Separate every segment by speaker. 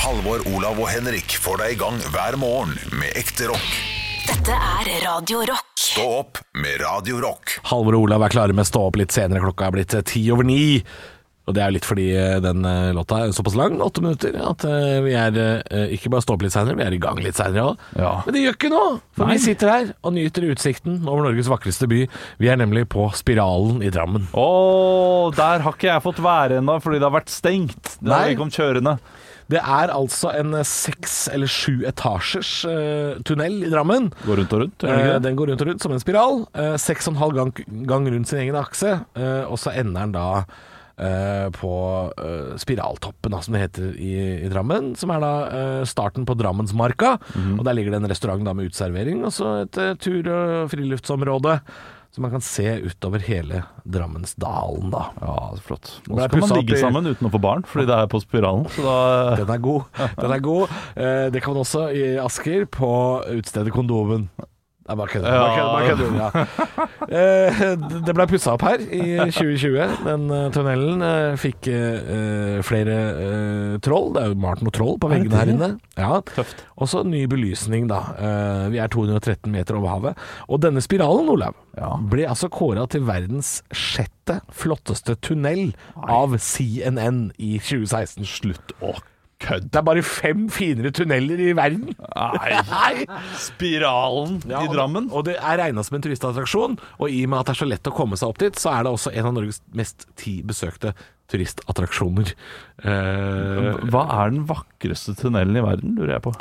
Speaker 1: Halvor, Olav og Henrik får deg i gang hver morgen med ekte rock.
Speaker 2: Dette er Radio Rock.
Speaker 1: Stå opp med Radio Rock.
Speaker 3: Halvor og Olav er klare med å stå opp litt senere. Klokka er blitt eh, ti over ni. Og det er jo litt fordi eh, den eh, låta er såpass lang, åtte minutter, at eh, vi er eh, ikke bare stå opp litt seinere, vi er i gang litt seinere òg.
Speaker 4: Ja.
Speaker 3: Men det gjør ikke noe, for
Speaker 4: Nei.
Speaker 3: vi sitter her og nyter utsikten over Norges vakreste by. Vi er nemlig på Spiralen i Drammen.
Speaker 4: Å, der har ikke jeg fått være ennå, fordi det har vært stengt. Det
Speaker 3: Nei.
Speaker 4: har ikke kommet kjørende.
Speaker 3: Det er altså en eh, seks eller sju etasjers eh, tunnel i Drammen.
Speaker 4: Går rundt og rundt.
Speaker 3: Eh, den går rundt og rundt som en spiral. Eh, Seks og en halv gang, gang rundt sin egen akse, eh, og så ender den da eh, på eh, Spiraltoppen, da, som det heter i, i Drammen. Som er da eh, starten på Drammensmarka. Og Der ligger det en restaurant da med uteservering, og så et eh, tur- og friluftsområde. Så man kan se utover hele Drammensdalen, da.
Speaker 4: Ja, flott.
Speaker 3: Den
Speaker 4: Nå
Speaker 3: er
Speaker 4: skal man
Speaker 3: pusset opp
Speaker 4: ligge
Speaker 3: i-
Speaker 4: sammen uten å få barn, fordi det er på spiralen. Så da
Speaker 3: Den er god. Den er god. Eh, det kan man også i Asker, på utstedet Kondomen. Nei, bare kødder. Bare kødder, bare kødder. Ja. Eh, det ble pussa opp her i 2020. Den eh, tunnelen eh, fikk eh, eh, flere eh, troll. Det er jo malt noe troll på
Speaker 4: Er det
Speaker 3: veggene her
Speaker 4: det?
Speaker 3: inne. Ja.
Speaker 4: Tøft.
Speaker 3: Også ny belysning, da. Eh, vi er 213 meter over havet. Og denne spiralen, Olav,
Speaker 4: Ja.
Speaker 3: ble altså kåra til verdens sjette flotteste tunnel av CNN i 2016.
Speaker 4: Slutt å kødde.
Speaker 3: Det er bare fem finere tunneler i verden.
Speaker 4: Nei.
Speaker 3: Nei!
Speaker 4: Spiralen i Drammen.
Speaker 3: Og det er regna som en turistattraksjon. Og i og med at det er så lett å komme seg opp dit, så er det også en av Norges mest ti besøkte turistattraksjoner. Eh,
Speaker 4: Hva er den vakreste tunnelen i verden, lurer jeg på.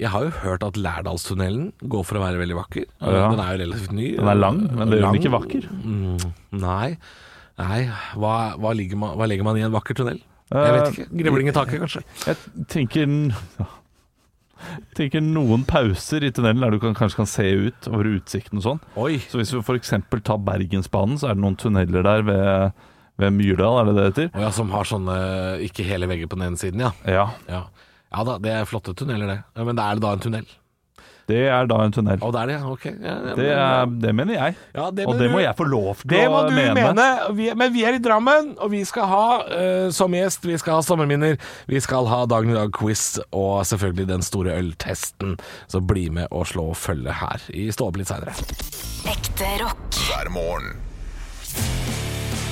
Speaker 3: jeg har jo hørt at Lærdalstunnelen går for å være veldig vakker.
Speaker 4: Ja.
Speaker 3: Den er jo relativt ny.
Speaker 4: Den er lang, men det gjør den ikke
Speaker 3: Lang.
Speaker 4: vakker.
Speaker 3: Mm, nei. Nei, hva, hva, ligger man, hva legger man i en vakker tunnel?
Speaker 4: Eh,
Speaker 3: Jeg vet ikke. Grevling i taket, kanskje?
Speaker 4: Jeg tenker ja. Tenker noen pauser i tunnelen der du kan, kanskje kan se ut over utsikten og sånn.
Speaker 3: Oi.
Speaker 4: Så hvis vi f.eks. tar Bergensbanen, så er det noen tunneler der ved, ved Myrdal, er det det heter?
Speaker 3: Og ja, som har sånne ikke hele vegger på den ene siden, ja.
Speaker 4: Ja.
Speaker 3: Ja. ja da, det er flotte tunneler det. Ja, men det er det da en tunnel?
Speaker 4: Det er da en tunnel.
Speaker 3: Å, det er det, ja. Ok. Ja, ja,
Speaker 4: Det, er, det mener jeg.
Speaker 3: ja, det
Speaker 4: Og
Speaker 3: mener
Speaker 4: det må
Speaker 3: du-
Speaker 4: jeg få lov til
Speaker 3: Det
Speaker 4: å
Speaker 3: må du mene.
Speaker 4: mene.
Speaker 3: Vi, men vi er i Drammen, og vi skal ha eh, som gjest, vi skal ha sommerminner, vi skal ha Dagen i dag-quiz, og selvfølgelig den store øltesten. Så bli med og slå følge her i Stå opp litt seinere.
Speaker 2: Ekte rock.
Speaker 1: Hver morgen.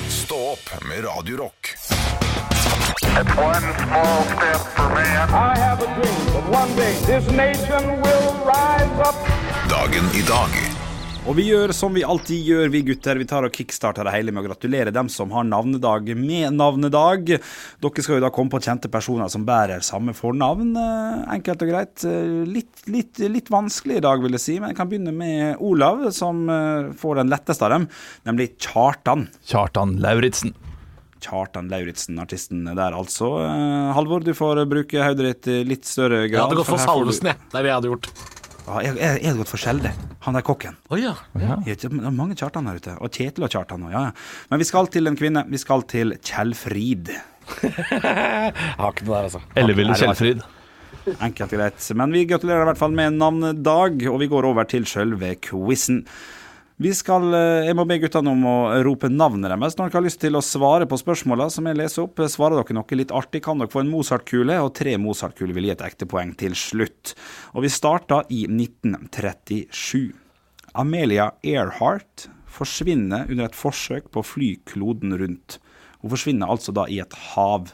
Speaker 1: Stå opp med Radio Rock.
Speaker 5: It's one small step for man.
Speaker 6: I have a dream that one day this nation will rise up.
Speaker 1: Dagen i dag.
Speaker 7: Og vi gjør som vi alltid gjør, vi gutter. Vi tar og kickstarter det hele med å gratulere dem som har navnedag med navnedag. Dere skal jo da komme på kjente personer som bærer samme fornavn. eh, Enkelt og greit. Eh, Litt, litt, litt vanskelig i dag, vil jeg si, men jeg kan begynne med Olav, som eh, får den letteste av dem, nemlig Kjartan.
Speaker 4: Kjartan Lauritzen.
Speaker 7: Kjartan Lauritzen, artisten der altså. Eh, Halvor, du får bruke hodet ditt i litt større grad.
Speaker 3: Jeg hadde gått
Speaker 7: for
Speaker 3: for
Speaker 7: her får du-
Speaker 3: Salvesen, jeg. Det er det jeg hadde gjort.
Speaker 7: Ja, jeg, jeg, jeg hadde gått for Skjelde. Han der kokken.
Speaker 3: Å ja.
Speaker 7: Ja, Det er mange Kjartan her ute. Og Kjetil og Kjartan òg, ja, ja. Men vi skal til en kvinne. Vi skal til Kjell Frid.
Speaker 3: Jeg har ikke det der, altså.
Speaker 4: Elleville Kjellfrid.
Speaker 7: Enkelt og greit. Men vi gratulerer i hvert fall med navnedag, og vi går over til sjølve quizen. Vi skal, eh, Jeg må be guttene om å rope navnet deres når dere har lyst til å svare på spørsmåla som jeg leser opp. Svarer dere noe litt artig, kan dere få en Mozart-kule, og tre Mozart-kuler vil gi et ekte poeng til slutt. Og vi starter i 1937. Amelia Earhart forsvinner under et forsøk på å fly kloden rundt. Hun forsvinner altså da i et hav.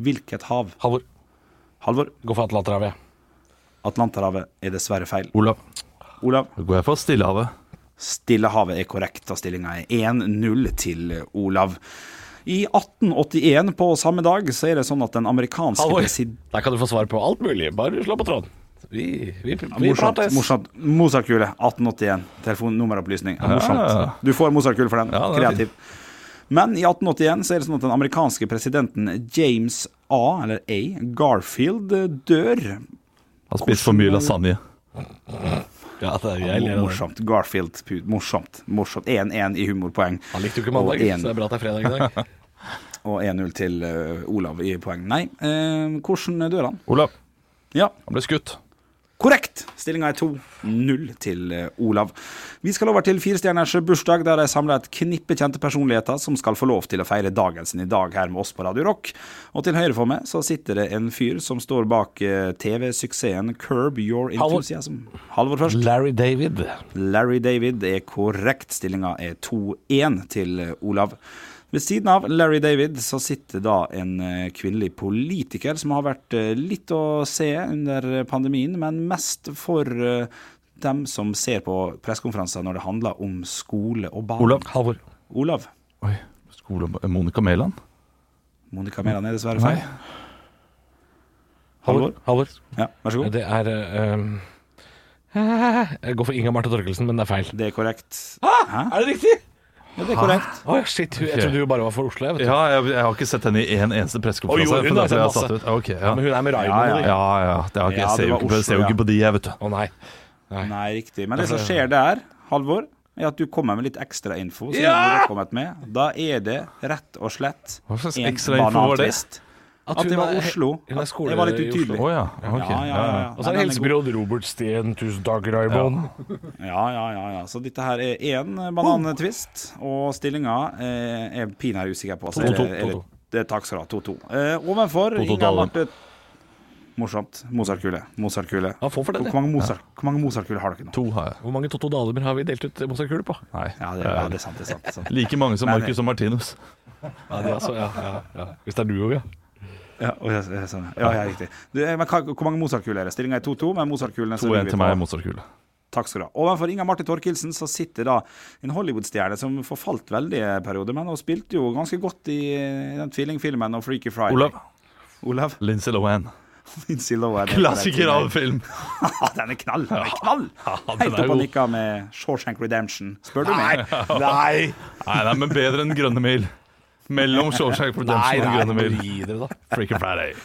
Speaker 7: Hvilket hav?
Speaker 3: Halvor,
Speaker 7: Halvor,
Speaker 3: gå for Atlanterhavet.
Speaker 7: Atlanterhavet er dessverre feil.
Speaker 4: Olav.
Speaker 7: Olav?
Speaker 4: Da går jeg for Stillehavet.
Speaker 7: Stillehavet er korrekt, og stillinga er 1-0 til Olav. I 1881, på samme dag, så er det sånn at den amerikanske
Speaker 3: Halvor,
Speaker 7: presid-
Speaker 3: der kan du få svar på alt mulig. Bare slå på tråden. Vi, vi, vi,
Speaker 7: Morsomt.
Speaker 3: prates.
Speaker 7: morsomt. Mozart-kule, 1881. Telefonnummeropplysning. Ja,
Speaker 4: Ja.
Speaker 7: morsomt. Du får Mozart-kule for den.
Speaker 4: Ja, den er
Speaker 7: Kreativ. Men i 1881 så er det sånn at den amerikanske presidenten James A, eller A, Garfield eh, dør
Speaker 4: Har spist for mye lasagne.
Speaker 3: Ja, det er, jeg
Speaker 7: Mo-
Speaker 3: ler av det.
Speaker 7: Morsomt. Garfield. pu- Morsomt. Morsomt. 1-1 i humorpoeng.
Speaker 3: Han likte jo ikke
Speaker 7: Og
Speaker 3: mandag,
Speaker 7: en-
Speaker 3: så det er bra at det er fredag i dag.
Speaker 7: Og 1-0 til eh, Olav i poeng. Nei, eh, hvordan dør han?
Speaker 4: Olav.
Speaker 7: Ja,
Speaker 4: Han ble skutt.
Speaker 7: korrekt! Stillinga er 2-0 til eh, Olav. Vi skal over til Firestjerners bursdag, der de samler et knippe kjente personligheter som skal få lov til å feire dagen sin i dag her med oss på Radio Rock. Og til høyre for meg så sitter det en fyr som står bak eh, TV-suksessen Curb Your
Speaker 3: Halvor.
Speaker 7: Enthusiasm. Halvor først.
Speaker 3: Larry David.
Speaker 7: Larry David er korrekt. Stillinga er 2-1 til Olav. Ved siden av Larry David så sitter da en eh, kvinnelig politiker som har vært eh, litt å se under eh, pandemien, men mest for eh, dem som ser på pressekonferanser når det handler om skole og barn.
Speaker 4: Olav.
Speaker 3: Halvor.
Speaker 7: Olav.
Speaker 4: Oi, skole Monica Mæland?
Speaker 7: Monica Mæland er dessverre feil. Halvor?
Speaker 3: Halvor. Halvor.
Speaker 7: Ja, vær så god.
Speaker 3: Det er eh, um, Jeg går for Inga Marte Torkelsen, men det er feil.
Speaker 7: Det er korrekt.
Speaker 3: Er det riktig?
Speaker 7: Ja, det er korrekt.
Speaker 3: Å shit. Jeg trodde du bare var for Oslo. Jeg, vet du.
Speaker 4: Ja, jeg, jeg har ikke sett henne i en
Speaker 3: Å,
Speaker 4: eneste
Speaker 3: jo,
Speaker 4: pressekonferanse.
Speaker 3: hun
Speaker 4: for
Speaker 3: har
Speaker 4: da ble jeg
Speaker 3: sett
Speaker 4: satt ut. Ok, ja.
Speaker 3: Men hun er med Raymond.
Speaker 7: Ja,
Speaker 3: og
Speaker 7: ja,
Speaker 3: de.
Speaker 4: ja, ja. Det har ikke, jeg
Speaker 7: Ja, det
Speaker 4: ser jo
Speaker 7: var
Speaker 4: ikke, på- jeg ser jo
Speaker 7: Oslo,
Speaker 4: ikke
Speaker 7: ja.
Speaker 4: på de, jeg, vet du.
Speaker 3: Å nei. nei.
Speaker 7: Nei, riktig. Men det som skjer der, Halvor, er at du kommer med litt ekstra info. Som
Speaker 3: Ja!
Speaker 7: du har kommet med. Da er det rett og slett
Speaker 4: Hva slags
Speaker 7: en
Speaker 4: ekstra info var det?
Speaker 7: banantvist. At det var Oslo.
Speaker 3: Hun er
Speaker 7: At
Speaker 3: skole
Speaker 7: det var litt
Speaker 3: i Oslo.
Speaker 7: utydelig.
Speaker 4: Å ja. ok.
Speaker 7: Ja, ja, ja, ja.
Speaker 3: Og så er det
Speaker 7: Nei, den er god.
Speaker 3: helsebyråd Robertstien. Tusen takk, Raymond.
Speaker 7: Ja, ja, ja, ja. Så dette her er én banantvist, og stillinga eh, er pinadø usikker på. Altså,
Speaker 3: To, to,
Speaker 7: er det- er det-
Speaker 3: to, to.
Speaker 7: Det er takk skal du ha. 2-2. Eh,
Speaker 4: To,
Speaker 7: ovenfor
Speaker 4: to,
Speaker 7: Inga
Speaker 4: Dalum.
Speaker 7: Marte Morsomt. Mozartkule. Mozartkule.
Speaker 3: Han får for den,
Speaker 7: Hvor
Speaker 3: det.
Speaker 7: mange Mozart- hvor mange Mozartkuler har dere nå?
Speaker 4: To har jeg.
Speaker 3: Hvor mange Totto Dalimer har vi delt ut Mozart-kuler på?
Speaker 4: Nei.
Speaker 7: Ja, det, ja, det er sant. Det er sant, det er sant.
Speaker 4: Like mange som
Speaker 7: Nei,
Speaker 4: Marcus og Martinus.
Speaker 3: Ja, det altså, ja, ja, ja. Hvis det er duo, ja.
Speaker 7: Ja, og jeg, jeg, sånn. ja, ja, riktig. Du, eh, men hva, hvor mange Mozart-kuler er det? Stillinga er 2-2, men Mozart-kulene så
Speaker 4: To
Speaker 7: ligger
Speaker 4: en
Speaker 7: vi
Speaker 4: til
Speaker 7: på-
Speaker 4: meg, Mozart-kule.
Speaker 7: Takk skal du ha. Overfor Inga Marte Thorkildsen så sitter da en Hollywood-stjerne som forfalt veldig i en periode, men hun spilte jo ganske godt i eh, den tvillingfilmen og Freaky Friday.
Speaker 4: Olav.
Speaker 7: Olav
Speaker 4: Lindsay Lohan.
Speaker 7: Lindsay Lohan. er
Speaker 4: Klassiker
Speaker 7: på
Speaker 4: av
Speaker 7: den tiden.
Speaker 4: film.
Speaker 7: Ja, den er knall! Den er knall.
Speaker 4: den
Speaker 7: Helt
Speaker 4: er
Speaker 7: opp og
Speaker 4: god.
Speaker 7: nikka med Shawshank Redemption, spør du meg.
Speaker 3: Nei!
Speaker 4: Nei, nei, men bedre enn Grønne mil. Mellom Shawshank
Speaker 3: Nei,
Speaker 4: Redemption og
Speaker 3: nei,
Speaker 4: Grønne
Speaker 3: må
Speaker 4: mil.
Speaker 3: gi dere, da.
Speaker 4: Freaking Friday.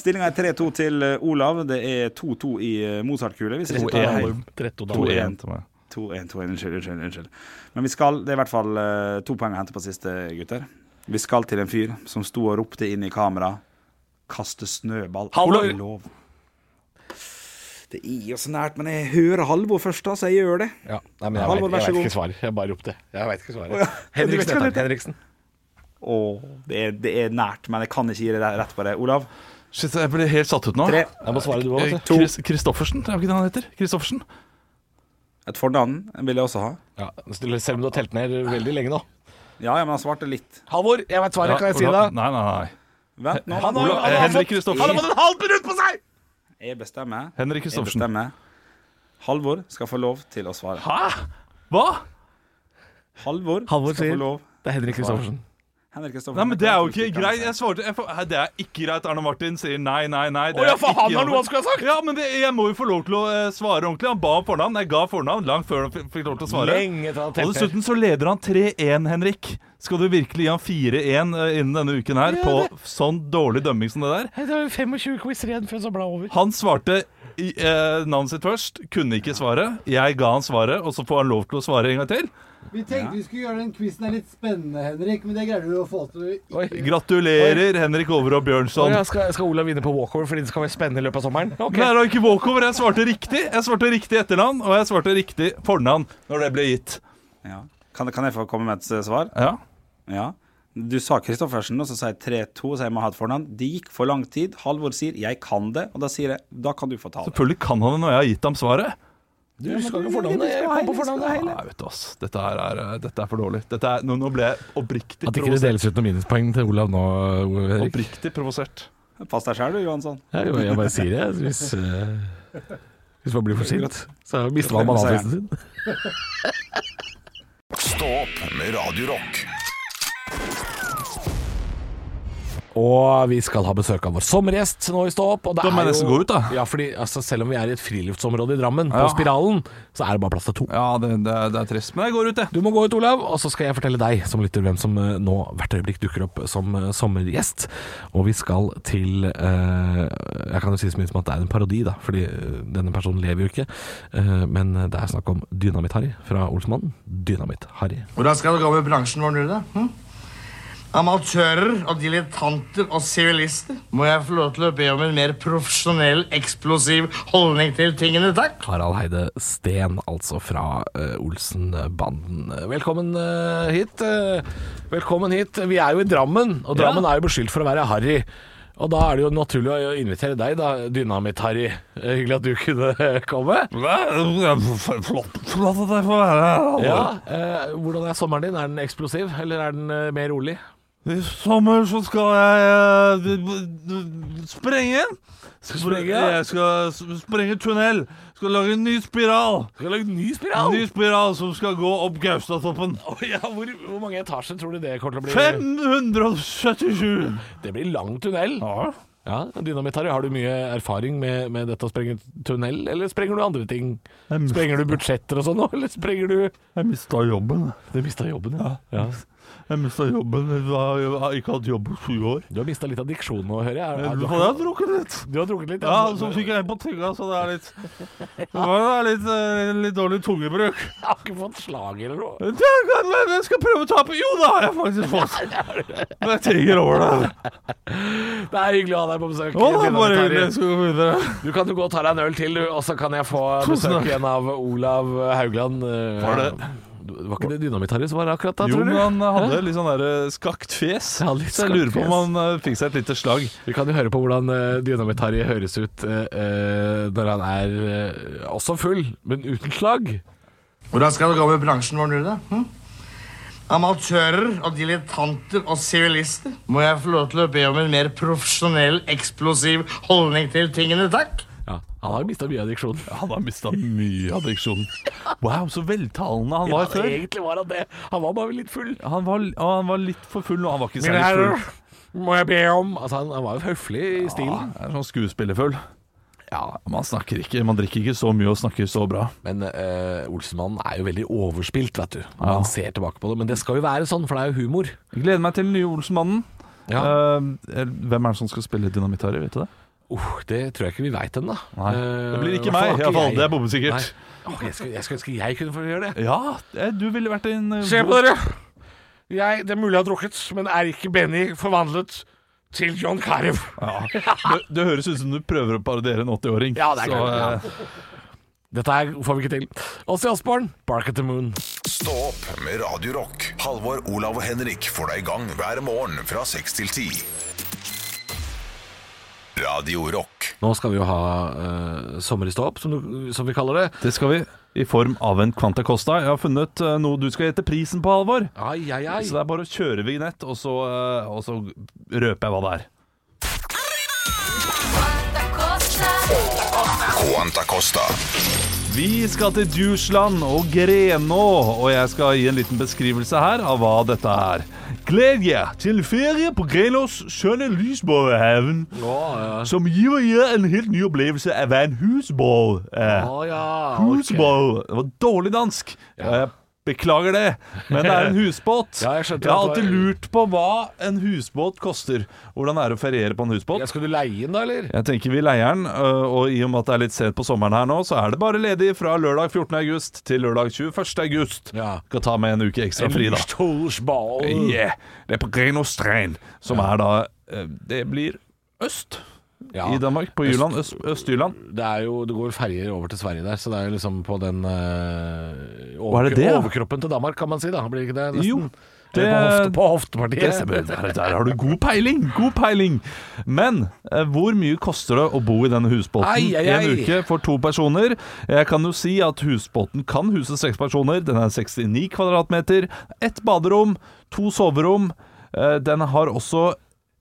Speaker 7: Stillinga er 3-2 til eh, Olav. Det er 2-2 i eh, Mozart-kule. Hvis jeg ikke
Speaker 3: Tretto Dalimer. Tretto
Speaker 4: To, en.
Speaker 7: tar To,
Speaker 3: Dalimer.
Speaker 7: en.
Speaker 4: 2-1 til meg.
Speaker 7: 2-1, 2-1, unnskyld, unnskyld, unnskyld. Men vi skal, det er i hvert fall eh, to poeng å hente på siste, gutter. Vi skal til en fyr som sto og ropte inn i kamera Kaste snøball
Speaker 3: Halvor!
Speaker 7: er lov. Det er jo så nært, men jeg hører Halvor først, da, så jeg gjør det.
Speaker 3: Ja, nei, men jeg,
Speaker 7: Halvor,
Speaker 3: vet,
Speaker 7: vær
Speaker 3: jeg
Speaker 7: så
Speaker 3: vet
Speaker 7: god.
Speaker 3: ikke svaret. Jeg bare ropte. Jeg vet ikke
Speaker 7: Å, ja.
Speaker 3: svaret.
Speaker 7: Du vet
Speaker 3: Henriksen.
Speaker 7: ikke hva
Speaker 3: heter
Speaker 7: det
Speaker 3: han. Henriksen.
Speaker 7: Og det er, det er nært, men jeg kan ikke gi deg rett på det. Olav?
Speaker 4: Shit, jeg ble helt satt ut nå.
Speaker 7: Tre.
Speaker 3: Jeg må svare du altså. òg,
Speaker 4: Eh,
Speaker 3: vet du.
Speaker 4: Chris- Kristoffersen, er det ikke det han heter? Kristoffersen?
Speaker 7: Et fornavn vil jeg også ha.
Speaker 3: Ja, selv om du har telt ned veldig lenge nå.
Speaker 7: Ja, ja, men han svarte litt.
Speaker 3: Halvor, jeg vet svaret, kan jeg si det?
Speaker 4: Nei, nei, nei.
Speaker 7: Vent nå.
Speaker 3: Han har-
Speaker 7: Olav,
Speaker 3: han har
Speaker 4: Henrik
Speaker 3: fått-
Speaker 4: Kristoffersen.
Speaker 3: Han har fått en halv minutt på seg!
Speaker 7: Jeg bestemmer.
Speaker 4: Henrik
Speaker 7: Jeg
Speaker 4: Kristoffersen.
Speaker 7: bestemmer. Halvor skal få lov til å svare.
Speaker 4: Hæ? Hva?
Speaker 7: Halvor,
Speaker 3: Halvor
Speaker 7: skal
Speaker 3: sier-
Speaker 7: få lov.
Speaker 3: Det er Henrik Kristoffersen.
Speaker 7: Henrik Kristoffersen.
Speaker 4: Nei, men Det er jo
Speaker 7: kan
Speaker 4: ikke
Speaker 7: uttrykke
Speaker 4: greit.
Speaker 7: seg.
Speaker 4: Jeg svarte, jeg, får- Hæ, det er ikke greit. Arne Martin sier nei, nei, nei. Det
Speaker 3: Å ja,
Speaker 4: er
Speaker 3: for han
Speaker 4: ikke
Speaker 3: har noe han
Speaker 4: greit.
Speaker 3: skulle ha sagt!
Speaker 4: Ja, men det, Jeg må jo få lov til å eh, svare ordentlig. Han ba om fornavn. Jeg ga fornavn langt før han f- fikk lov til å svare.
Speaker 3: Lenge til han har
Speaker 4: Og
Speaker 3: telt ned.
Speaker 4: dessuten så leder han 3-1, Henrik. Skal du virkelig gi han 4-1 innen denne uken her
Speaker 3: Ja,
Speaker 4: på sånn dårlig dømming som det der?
Speaker 3: Nei, Det var jo 25 quizer igjen før sabla over.
Speaker 4: Han svarte i, eh, navnet sitt først, kunne ikke svaret. Jeg ga han svaret, og så får han lov til å svare en gang til.
Speaker 8: Vi tenkte vi skulle gjøre den quizen her litt spennende, Henrik, men det greier du å få til.
Speaker 3: Oi.
Speaker 4: Gratulerer, Henrik Overå
Speaker 3: Sånn.
Speaker 4: Bjørnson.
Speaker 3: ja, skal, skal Olav vinne på walkover fordi det skal være spennende i løpet av sommeren? Ok.
Speaker 4: Nei, det var ikke walkover. Jeg svarte riktig. Jeg svarte riktig etternavn, og jeg svarte riktig fornavn når det ble gitt.
Speaker 7: Ja. Kan, kan jeg få komme med et eh, svar?
Speaker 4: Ja.
Speaker 7: Ja. Du sa Kristoffersen, og så sa jeg 3-2, så jeg må ha et fornavn. Det gikk for lang tid. Halvor sier 'jeg kan det', og da sier jeg 'da kan du få ta det'.
Speaker 4: Selvfølgelig kan han det når jeg har gitt ham svaret.
Speaker 3: Du husker ikke fornavnet. Jeg kom på fornavnet.
Speaker 4: Nei, vet du ass. Dette, her er, eh, dette er for dårlig. Dette er, nå, nå ble jeg oppriktig
Speaker 3: At ikke det
Speaker 4: provosert.
Speaker 3: deles ut noen minuspoeng til Olav nå, Henrik.
Speaker 4: Oppriktig provosert.
Speaker 7: Pass deg sjæl du, Johansson.
Speaker 3: Ja, jo, jeg bare sier det. Hvis, eh, hvis man blir for sint, så mister man bananfisen sin.
Speaker 1: Stå opp med Radio Rock.
Speaker 3: Og vi skal ha besøk av vår sommergjest nå i Stå opp. og det
Speaker 4: Da må
Speaker 3: er
Speaker 4: jeg nesten
Speaker 3: jo-
Speaker 4: gå ut, da.
Speaker 3: Ja, fordi altså, selv om vi er i et friluftsområde i Drammen,
Speaker 4: Ja.
Speaker 3: på Spiralen, så er det bare plass til to.
Speaker 4: Ja, det, det, er- det er trist. Men jeg går ut, jeg.
Speaker 3: Du må gå ut, Olav, og så skal jeg fortelle deg som lytter hvem som eh, nå hvert øyeblikk dukker opp som eh, sommergjest. Og vi skal til eh, Jeg kan jo si så mye som at det er en parodi, da, fordi eh, denne personen lever jo ikke. Eh, men det er snakk om Dynamitt-Harry fra Olsmannen. Dynamitt-Harry.
Speaker 9: Hvordan skal det gå med bransjen vår nå, da? Hm? Amatører og dilettanter og sivilister må jeg få lov til å be om en mer profesjonell, eksplosiv holdning til tingene, takk.
Speaker 3: Harald Heide Steen, altså fra eh, Olsenbanden. Velkommen eh, hit. eh, velkommen hit. Vi er jo i Drammen, og Drammen er jo beskyldt for å være harry. Og da er det jo naturlig å invitere deg, da, Dynamitt-Harry. Eh, Hyggelig at du kunne komme.
Speaker 4: Flott, flott at jeg får være her.
Speaker 3: Ja, eh, Hvordan er sommeren din? Er den eksplosiv, eller er den eh, mer rolig?
Speaker 4: I sommer så skal jeg eh, sprenge.
Speaker 3: sprenge, ja.
Speaker 4: Jeg skal s- sprenge tunnel. Skal lage en ny spiral.
Speaker 3: Skal lage ny spiral!
Speaker 4: Ny spiral som skal gå opp Gaustatoppen.
Speaker 3: ja, hvor, hvor mange etasjer tror du det kommer til å bli?
Speaker 4: 577!
Speaker 3: Det blir lang tunnel.
Speaker 4: Ja.
Speaker 3: Ja, Dynamitt-Harry, har du mye erfaring med, med dette å sprenge tunnel, eller sprenger du andre ting?
Speaker 4: Jeg mis-
Speaker 3: Sprenger du budsjetter og sånn nå, eller sprenger du
Speaker 4: Jeg mista jobben.
Speaker 3: Du mista jobben, ja.
Speaker 4: Jeg mista jobben. Jeg har jeg har ikke hatt jobb på 20 år.
Speaker 3: Du har mista litt av diksjonen nå, hører jeg. Er- er-
Speaker 4: Jeg
Speaker 3: Du
Speaker 4: har
Speaker 3: har,
Speaker 4: drukket litt.
Speaker 3: du har drukket litt?
Speaker 4: Ja, så fikk jeg en på tygga, så det er litt Det var litt, eh, litt dårlig tungebruk.
Speaker 3: Jeg har ikke fått slag eller noe.
Speaker 4: Det kan være, Jeg skal prøve å ta på Jo, det har jeg faktisk fått! Men jeg tenker over det.
Speaker 3: Det er hyggelig å ha deg på besøk.
Speaker 4: Å, det er bare
Speaker 3: Dynamitt-Harry.
Speaker 4: hyggelig. Jeg skal gå videre.
Speaker 3: Du kan jo gå og ta deg en øl til, du, og så kan jeg få
Speaker 4: Tusen
Speaker 3: besøk
Speaker 4: takk.
Speaker 3: igjen av Olav Haugland. eh,
Speaker 4: Var det-
Speaker 3: Du- Var ikke det Dynamitt-Harry som var akkurat da,
Speaker 4: Jo,
Speaker 3: tror du?
Speaker 4: men han hadde litt sånn der eh, skakt fjes.
Speaker 3: Ja, litt
Speaker 4: Så jeg lurer på
Speaker 3: skakt
Speaker 4: om han eh, fikk seg et lite slag.
Speaker 3: Vi kan jo høre på hvordan eh, Dynamitt-Harry høres ut eh, eh, når han er eh, også full, men uten slag.
Speaker 9: Hvordan skal det gå med bransjen vår nå, da? Hm? Amatører og dilettanter og sivilister må jeg få lov til å be om en mer profesjonell, eksplosiv holdning til tingene, takk.
Speaker 3: Ja, han har jo mista mye av diksjonen.
Speaker 4: Han har mista mye av diksjonen. Wow, så veltalende han
Speaker 3: Ja,
Speaker 4: var før.
Speaker 3: egentlig var han det. Han var bare litt full.
Speaker 4: Han var, og han var litt for full nå. Han var ikke
Speaker 3: Mine
Speaker 4: særlig
Speaker 3: herrer,
Speaker 4: full.
Speaker 3: må jeg be om Altså, han, han var jo høflig i
Speaker 4: Ja,
Speaker 3: stilen.
Speaker 4: det er sånn skuespillerfull. Ja, man snakker ikke Man drikker ikke så mye og snakker så bra.
Speaker 3: Men eh, Olsenmannen er jo veldig overspilt, vet du.
Speaker 4: Ja.
Speaker 3: Man ser tilbake på det. Men det skal jo være sånn, for det er jo humor.
Speaker 4: Jeg gleder meg til den nye Olsenmannen.
Speaker 3: Ja.
Speaker 4: Eh, hvem er det som skal spille Dynamitt-Harry? Vet du det?
Speaker 3: Uh, det tror jeg ikke vi veit ennå.
Speaker 4: Nei.
Speaker 3: Eh,
Speaker 4: Det blir ikke
Speaker 3: i hvert fall
Speaker 4: meg, i hvert fall.
Speaker 3: jeg.
Speaker 4: Det er bombesikkert.
Speaker 3: Nei. Åh, jeg skulle- jeg skulle ønske jeg kunne få gjøre det.
Speaker 4: Ja, eh, du ville vært en eh,
Speaker 3: Se på
Speaker 4: god-
Speaker 3: dere. Jeg, det er mulig jeg har drukket, men er ikke Benny forvandlet til John Carew?
Speaker 4: Ja. Det, det høres ut som du prøver å parodiere en 80-åring.
Speaker 3: Ja, det er
Speaker 4: Så,
Speaker 3: klart,
Speaker 4: eh,
Speaker 3: Dette her får vi ikke til. Åse Osborn, 'Bark at the Moon'.
Speaker 1: Stå opp med Radio Rock. Halvor, Olav og Henrik får deg i gang hver morgen fra 6 til 10. Radio Rock.
Speaker 3: Nå skal vi jo ha eh, Sommer i stå-opp, som, du- som vi kaller det.
Speaker 4: det skal vi. I form av en Quanta Costa. Jeg har funnet eh, noe du skal gjette prisen på, Halvor.
Speaker 3: Ai, ai, ai.
Speaker 4: Så det er bare å kjøre vignett, og så, eh, og så røper jeg hva det er.
Speaker 1: Quanta Costa.
Speaker 4: Vi skal til Djursland og Grenå, og jeg skal gi en liten beskrivelse her av hva dette er. Gled dere til ferie på Grenås skjønne Lysborghaven,
Speaker 3: Å,
Speaker 4: som gir dere en helt ny opplevelse av hva en husborg
Speaker 3: ja.
Speaker 4: er.
Speaker 3: Å, ja. ok.
Speaker 4: Husborg! Det var dårlig dansk. og Jeg beklager det, men det er en husbåt.
Speaker 3: Ja, jeg skjønte
Speaker 4: har
Speaker 3: at det
Speaker 4: alltid
Speaker 3: var-
Speaker 4: lurt på hva en husbåt koster. Hvordan er det å feriere på en husbåt?
Speaker 3: Ja, skal du leie den, da, eller?
Speaker 4: Jeg tenker vi leier den, øh, og i og med at det er litt sent på sommeren her nå, så er det bare ledig fra lørdag 14. august til lørdag 21. august.
Speaker 3: Ja.
Speaker 4: Skal ta med en uke ekstra fri, da.
Speaker 3: Stolsball.
Speaker 4: Yeah. Det er på Grenostrein, som er da øh, Det blir øst
Speaker 3: Ja.
Speaker 4: i Danmark. På Jylland. Øst, Øst-Jylland.
Speaker 3: Det, er jo, det går ferjer over til Sverige der, så det er jo liksom på den eh,
Speaker 4: Hva er det det, da?
Speaker 3: overkroppen til Danmark, kan man si. da Blir det ikke det? nesten? Eller på,
Speaker 4: Jo, det-
Speaker 3: hofte, på hoftepartiet.
Speaker 4: Det stemmer. Der, der har du god peiling! God peiling! Men eh, hvor mye koster det å bo i denne husbåten
Speaker 3: Ai, ai,
Speaker 4: i en
Speaker 3: ai.
Speaker 4: uke for to personer? Jeg kan jo si at husbåten kan huse seks personer. Den er 69 kvadratmeter. Ett baderom, to soverom. Eh, Den har også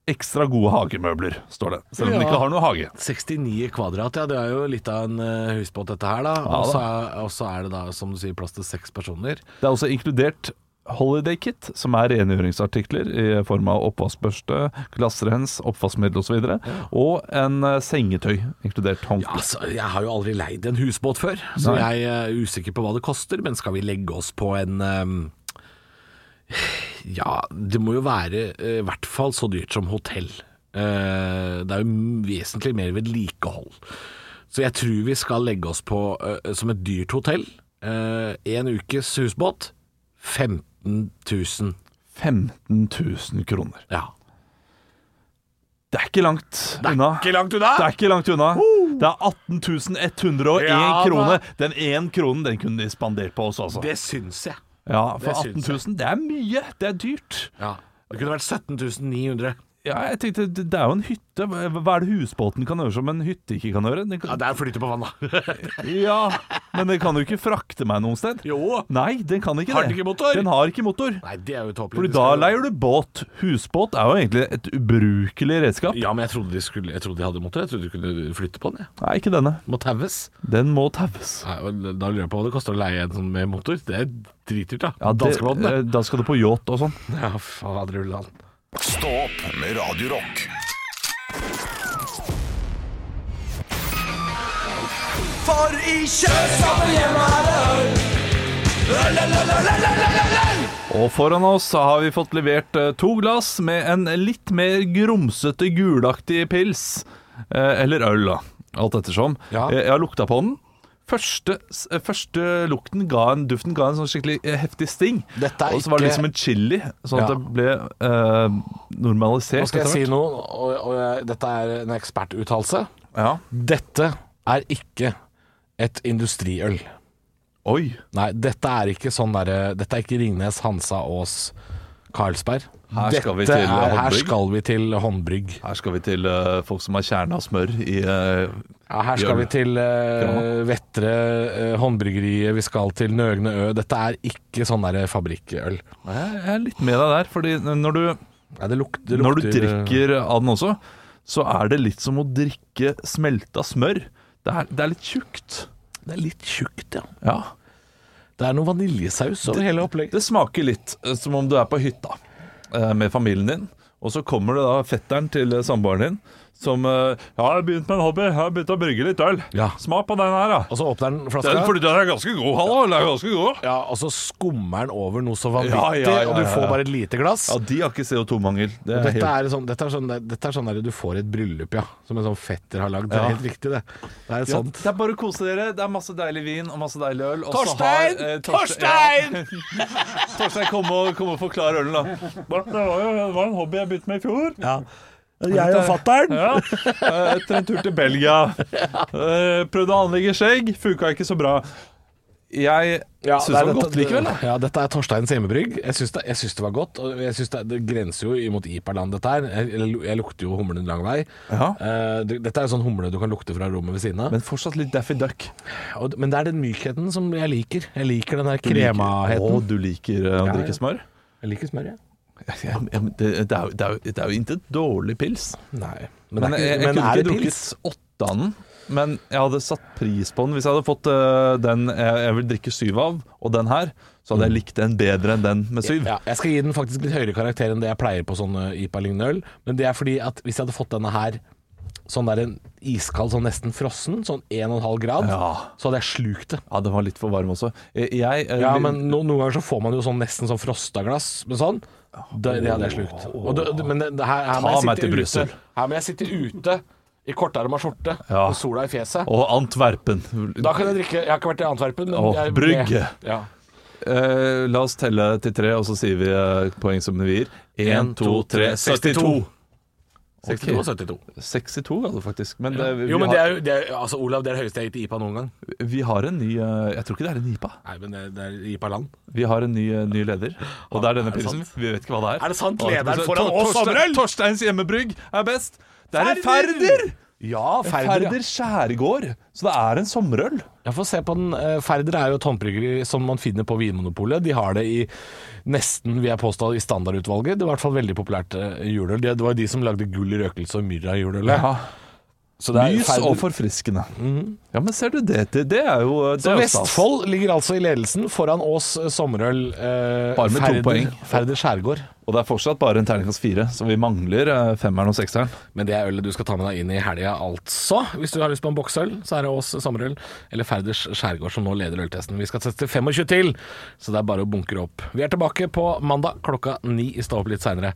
Speaker 4: ekstra gode hagemøbler, står det. Selv om den
Speaker 3: Ja.
Speaker 4: ikke har noe hage.
Speaker 3: 69 kvadrat, ja. Det er jo litt av en eh, husbåt, dette her, da.
Speaker 4: Ja,
Speaker 3: Og så er- Og så er det da, som du sier, plass til seks personer.
Speaker 4: Det er også inkludert Holiday Kit, som er rengjøringsartikler i form av oppvaskbørste, glassrens, oppvaskmiddel osv. Og en eh, sengetøy, inkludert håndkle.
Speaker 3: Altså, jeg har jo aldri leid en husbåt før, så
Speaker 4: Nei.
Speaker 3: jeg eh, er usikker på hva det koster. Men skal vi legge oss på en ehm, Ja, det må jo være eh, i hvert fall så dyrt som hotell. Eh, det er jo vesentlig mer vedlikehold. Så jeg tror vi skal legge oss på eh, som et dyrt hotell. eh, en ukes husbåt 15 000.
Speaker 4: 15 000 kroner.
Speaker 3: Ja.
Speaker 4: Det er ikke langt unna.
Speaker 3: Ikke langt unna!
Speaker 4: Det er ikke langt unna. Det er 18 101
Speaker 3: Ja, da.
Speaker 4: kroner. Den én kronen den kunne de spandert på oss, altså.
Speaker 3: Det syns jeg.
Speaker 4: Ja, for
Speaker 3: det syns
Speaker 4: 18 000, det er mye. Det er dyrt.
Speaker 3: Ja. Det kunne vært 17 900.
Speaker 4: Ja, jeg tenkte, det det er jo en hytte. Hva hva er det husbåten kan gjøre som en hytte ikke kan gjøre? Den
Speaker 3: Ja,
Speaker 4: kan,
Speaker 3: der flyter på vannet.
Speaker 4: ja, men den kan jo ikke frakte meg noen sted.
Speaker 3: jo.
Speaker 4: Nei, den kan ikke
Speaker 3: Har
Speaker 4: det.
Speaker 3: den ikke motor?
Speaker 4: Den har ikke motor.
Speaker 3: Nei, det er jo tåpelig.
Speaker 4: Fordi
Speaker 3: De
Speaker 4: da
Speaker 3: skal-
Speaker 4: leier du båt. Husbåt er jo egentlig et ubrukelig redskap.
Speaker 3: Ja, men jeg trodde de, skulle, jeg trodde de hadde motor. Jeg trodde de kunne flytte på den. jeg.
Speaker 4: Nei, ikke denne.
Speaker 3: Må taues.
Speaker 4: Den må taues.
Speaker 3: Nei, og Da lurer jeg på hva det koster å leie en sånn med motor. Det er dritdyrt, da.
Speaker 4: Ja, det-
Speaker 3: Danskebåten,
Speaker 4: eh,
Speaker 3: det.
Speaker 4: Da skal du på yacht og sånn.
Speaker 3: Ja, fader ulland.
Speaker 1: Stå opp med Radio Rock.
Speaker 4: Og foran oss har vi fått levert eh, to glass med en litt mer grumsete, gulaktig pils. Eh, Eller øl, da. Alt ettersom.
Speaker 3: Ja.
Speaker 4: Eh, Jeg har lukta på den. Første, s- eh, første lukten ga en, duften ga en sånn skikkelig eh, heftig sting.
Speaker 3: Dette er
Speaker 4: Og så var det
Speaker 3: ikke-
Speaker 4: liksom en chili, sånn
Speaker 3: Ja.
Speaker 4: at det ble eh, normalisert.
Speaker 3: Nå skal jeg
Speaker 4: etter
Speaker 3: si
Speaker 4: hvert.
Speaker 3: noe, og, og jeg- dette er en ekspertuttalelse.
Speaker 4: Ja.
Speaker 3: Dette er ikke et industriøl.
Speaker 4: Oi.
Speaker 3: Nei, dette er ikke sånn derre Dette er ikke Ringnes, Hansa, Ås, Carlsberg.
Speaker 4: Her skal vi
Speaker 3: Dette
Speaker 4: til
Speaker 3: er, her
Speaker 4: håndbrygg.
Speaker 3: skal vi til håndbrygg.
Speaker 4: Her skal vi til eh, folk som har kjerne av smør i eh,
Speaker 3: Ja, her skal
Speaker 4: Gjør
Speaker 3: vi
Speaker 4: det.
Speaker 3: til eh, Vettre eh, håndbryggeriet, vi skal til Nøgne Ø. Dette er ikke sånn derre fabrikkøl.
Speaker 4: Jeg jeg er litt med deg der, fordi når du,
Speaker 3: Nei, det lukter, det
Speaker 4: når du
Speaker 3: lukter, eh,
Speaker 4: drikker av den også, så er det litt som å drikke smelta smør. Det er, det er litt tjukt.
Speaker 3: Det er litt tjukt, ja.
Speaker 4: Ja.
Speaker 3: Det er noe vaniljesaus over hele opplegget.
Speaker 4: Det smaker litt eh, som om du er på hytta eh, med familien din, og så kommer det da fetteren til eh, samboeren din som eh, Ja, jeg har begynt med en hobby. Jeg har begynt å brygge litt øl.
Speaker 3: Ja.
Speaker 4: Smak på den her, da.
Speaker 3: Og så åpner den
Speaker 4: Den,
Speaker 3: flaska,
Speaker 4: fordi den er ganske god, hallo. Den er ganske god.
Speaker 3: ja, og så skummer den over noe så vanvittig,
Speaker 4: Ja, ja, ja,
Speaker 3: og du
Speaker 4: ja,
Speaker 3: får
Speaker 4: ja.
Speaker 3: bare et lite glass.
Speaker 4: Ja, de har ikke CO2-mangel. Det er
Speaker 3: Dette
Speaker 4: helt
Speaker 3: er, sånn, dette er sånn, der- dette er sånn der du får i et bryllup, ja. Som en sånn fetter har lagd. Det er
Speaker 4: Ja.
Speaker 3: helt riktig, det. Det er
Speaker 4: Ja,
Speaker 3: sant.
Speaker 4: det er bare å kose dere. Det er masse deilig vin og masse deilig øl. og så
Speaker 3: Torstein!
Speaker 4: har, eh, Torstein! Ja. Torstein, kom og, kom og forklar ølen, da. Det var jo en hobby jeg begynte med i fjor.
Speaker 3: Jeg og fatter'n!
Speaker 4: Ja. Eh, Etter en tur til Belgia. Eh, Prøvde å anlegge skjegg, funka ikke så bra. Jeg syns det var godt likevel. da.
Speaker 3: Ja, dette er Torsteins hjemmebrygg. Jeg syns det, jeg syns det var godt. Og jeg syns det, det grenser jo imot Ipa-land, dette her. Jeg, jeg lukter jo humlen lang vei.
Speaker 4: Ja.
Speaker 3: Eh, det- dette er jo sånn humle du kan lukte fra rommet ved siden av. Men,
Speaker 4: Men fortsatt litt Daffy Duck.
Speaker 3: og, men det er den mykheten som jeg liker. Jeg liker den her
Speaker 4: Du liker- Å,
Speaker 3: kremaheten.
Speaker 4: du liker eh,
Speaker 3: Ja,
Speaker 4: å
Speaker 3: ja.
Speaker 4: drikke smør?
Speaker 3: Jeg liker smør, jeg.
Speaker 4: Ja, men det, det, er, jo- det, er, jo- det er jo intet dårlig pils.
Speaker 3: Nei. Men,
Speaker 4: Men
Speaker 3: det
Speaker 4: jeg,
Speaker 3: er,
Speaker 4: jeg,
Speaker 3: ikke, men
Speaker 4: kunne
Speaker 3: er
Speaker 4: ikke
Speaker 3: det
Speaker 4: drukket
Speaker 3: pils?
Speaker 4: åtte av den, men jeg hadde satt pris på den. Hvis jeg hadde fått øh, den jeg, jeg vil drikke syv av, og den her, så hadde jeg likt den bedre enn den med syv.
Speaker 3: Mm. Ja, jeg skal gi den faktisk litt høyere karakter enn det jeg pleier på sånne IPA-lignende øl. Men det er fordi at hvis jeg hadde fått denne her sånn der en iskald, sånn nesten frossen, sånn 1,5 grad,
Speaker 4: Ja.
Speaker 3: så hadde jeg slukt det.
Speaker 4: Ja, den var litt for varm også. Jeg, jeg, øh,
Speaker 3: Ja, men no, Noen ganger så får man jo sånn nesten sånn frosta glass med sånn. Det, det hadde jeg slukt. Og det, det- men det, det her, her må
Speaker 4: Ta
Speaker 3: jeg
Speaker 4: meg
Speaker 3: sitte
Speaker 4: til Brussel.
Speaker 3: ute- Her må jeg sitte ute i korterma skjorte
Speaker 4: Ja.
Speaker 3: med sola i fjeset.
Speaker 4: Og Antwerpen.
Speaker 3: Da kan jeg drikke Jeg har ikke vært i Antwerpen, men
Speaker 4: Åh,
Speaker 3: jeg,
Speaker 4: brygge.
Speaker 3: Ja.
Speaker 4: Eh, la oss telle til tre, og så sier vi øh, poeng som vi gir. Én, to, tre, 62.
Speaker 3: 62 og 72.
Speaker 4: 62 var det faktisk. Men, det, vi,
Speaker 3: Jo, men det
Speaker 4: har,
Speaker 3: er jo det er, Altså, Olav, det er det høyeste jeg har gitt i IPA noen gang.
Speaker 4: vi har en ny øh, Jeg tror ikke det er en IPA.
Speaker 3: Nei, men det, det er IPA-land.
Speaker 4: Vi har en ny, eh, ny leder, og det er denne
Speaker 3: Ah, Er det
Speaker 4: pilsen.
Speaker 3: sant?
Speaker 4: Vi vet ikke hva det er.
Speaker 3: Er det sant?
Speaker 4: Og
Speaker 3: Lederen
Speaker 4: Tor-
Speaker 3: foran oss,
Speaker 4: Torstein-
Speaker 3: Samuel!
Speaker 4: Torsteins hjemmebrygg er best. Det er en
Speaker 3: Færder!
Speaker 4: Færder!
Speaker 3: Ja, Færder.
Speaker 4: Færder skjærgård. Så det er en sommerøl.
Speaker 3: Jeg får se på den. Eh, Færder er jo et håndbryggeri som man finner på Vinmonopolet. De har det i nesten, vil jeg påstå, i standardutvalget. Det var i hvert fall veldig populært eh, juleøl. Det det var jo de som lagde gull i røkelse og myrra i juleølet. Så det er
Speaker 4: Lys
Speaker 3: Færder-
Speaker 4: og forfriskende.
Speaker 3: Mhm.
Speaker 4: Ja, men ser du det til Det er jo det
Speaker 3: Så
Speaker 4: er jo stas.
Speaker 3: Vestfold ligger altså i ledelsen foran Ås eh, sommerøl eh,
Speaker 4: Bare med to
Speaker 3: Færder-
Speaker 4: poeng.
Speaker 3: Færder skjærgård.
Speaker 4: Og det er fortsatt bare en terningkast fire, så vi mangler eh, femmeren og sekseren.
Speaker 3: Men det er ølet du skal ta med deg inn i helga, altså. Hvis du har lyst på en boksøl, så er det Ås sommerøl eller Færders skjærgård som nå leder øltesten. Vi skal sette 25 til, så det er bare å bunkre opp. Vi er tilbake på mandag klokka ni. Stå opp litt seinere.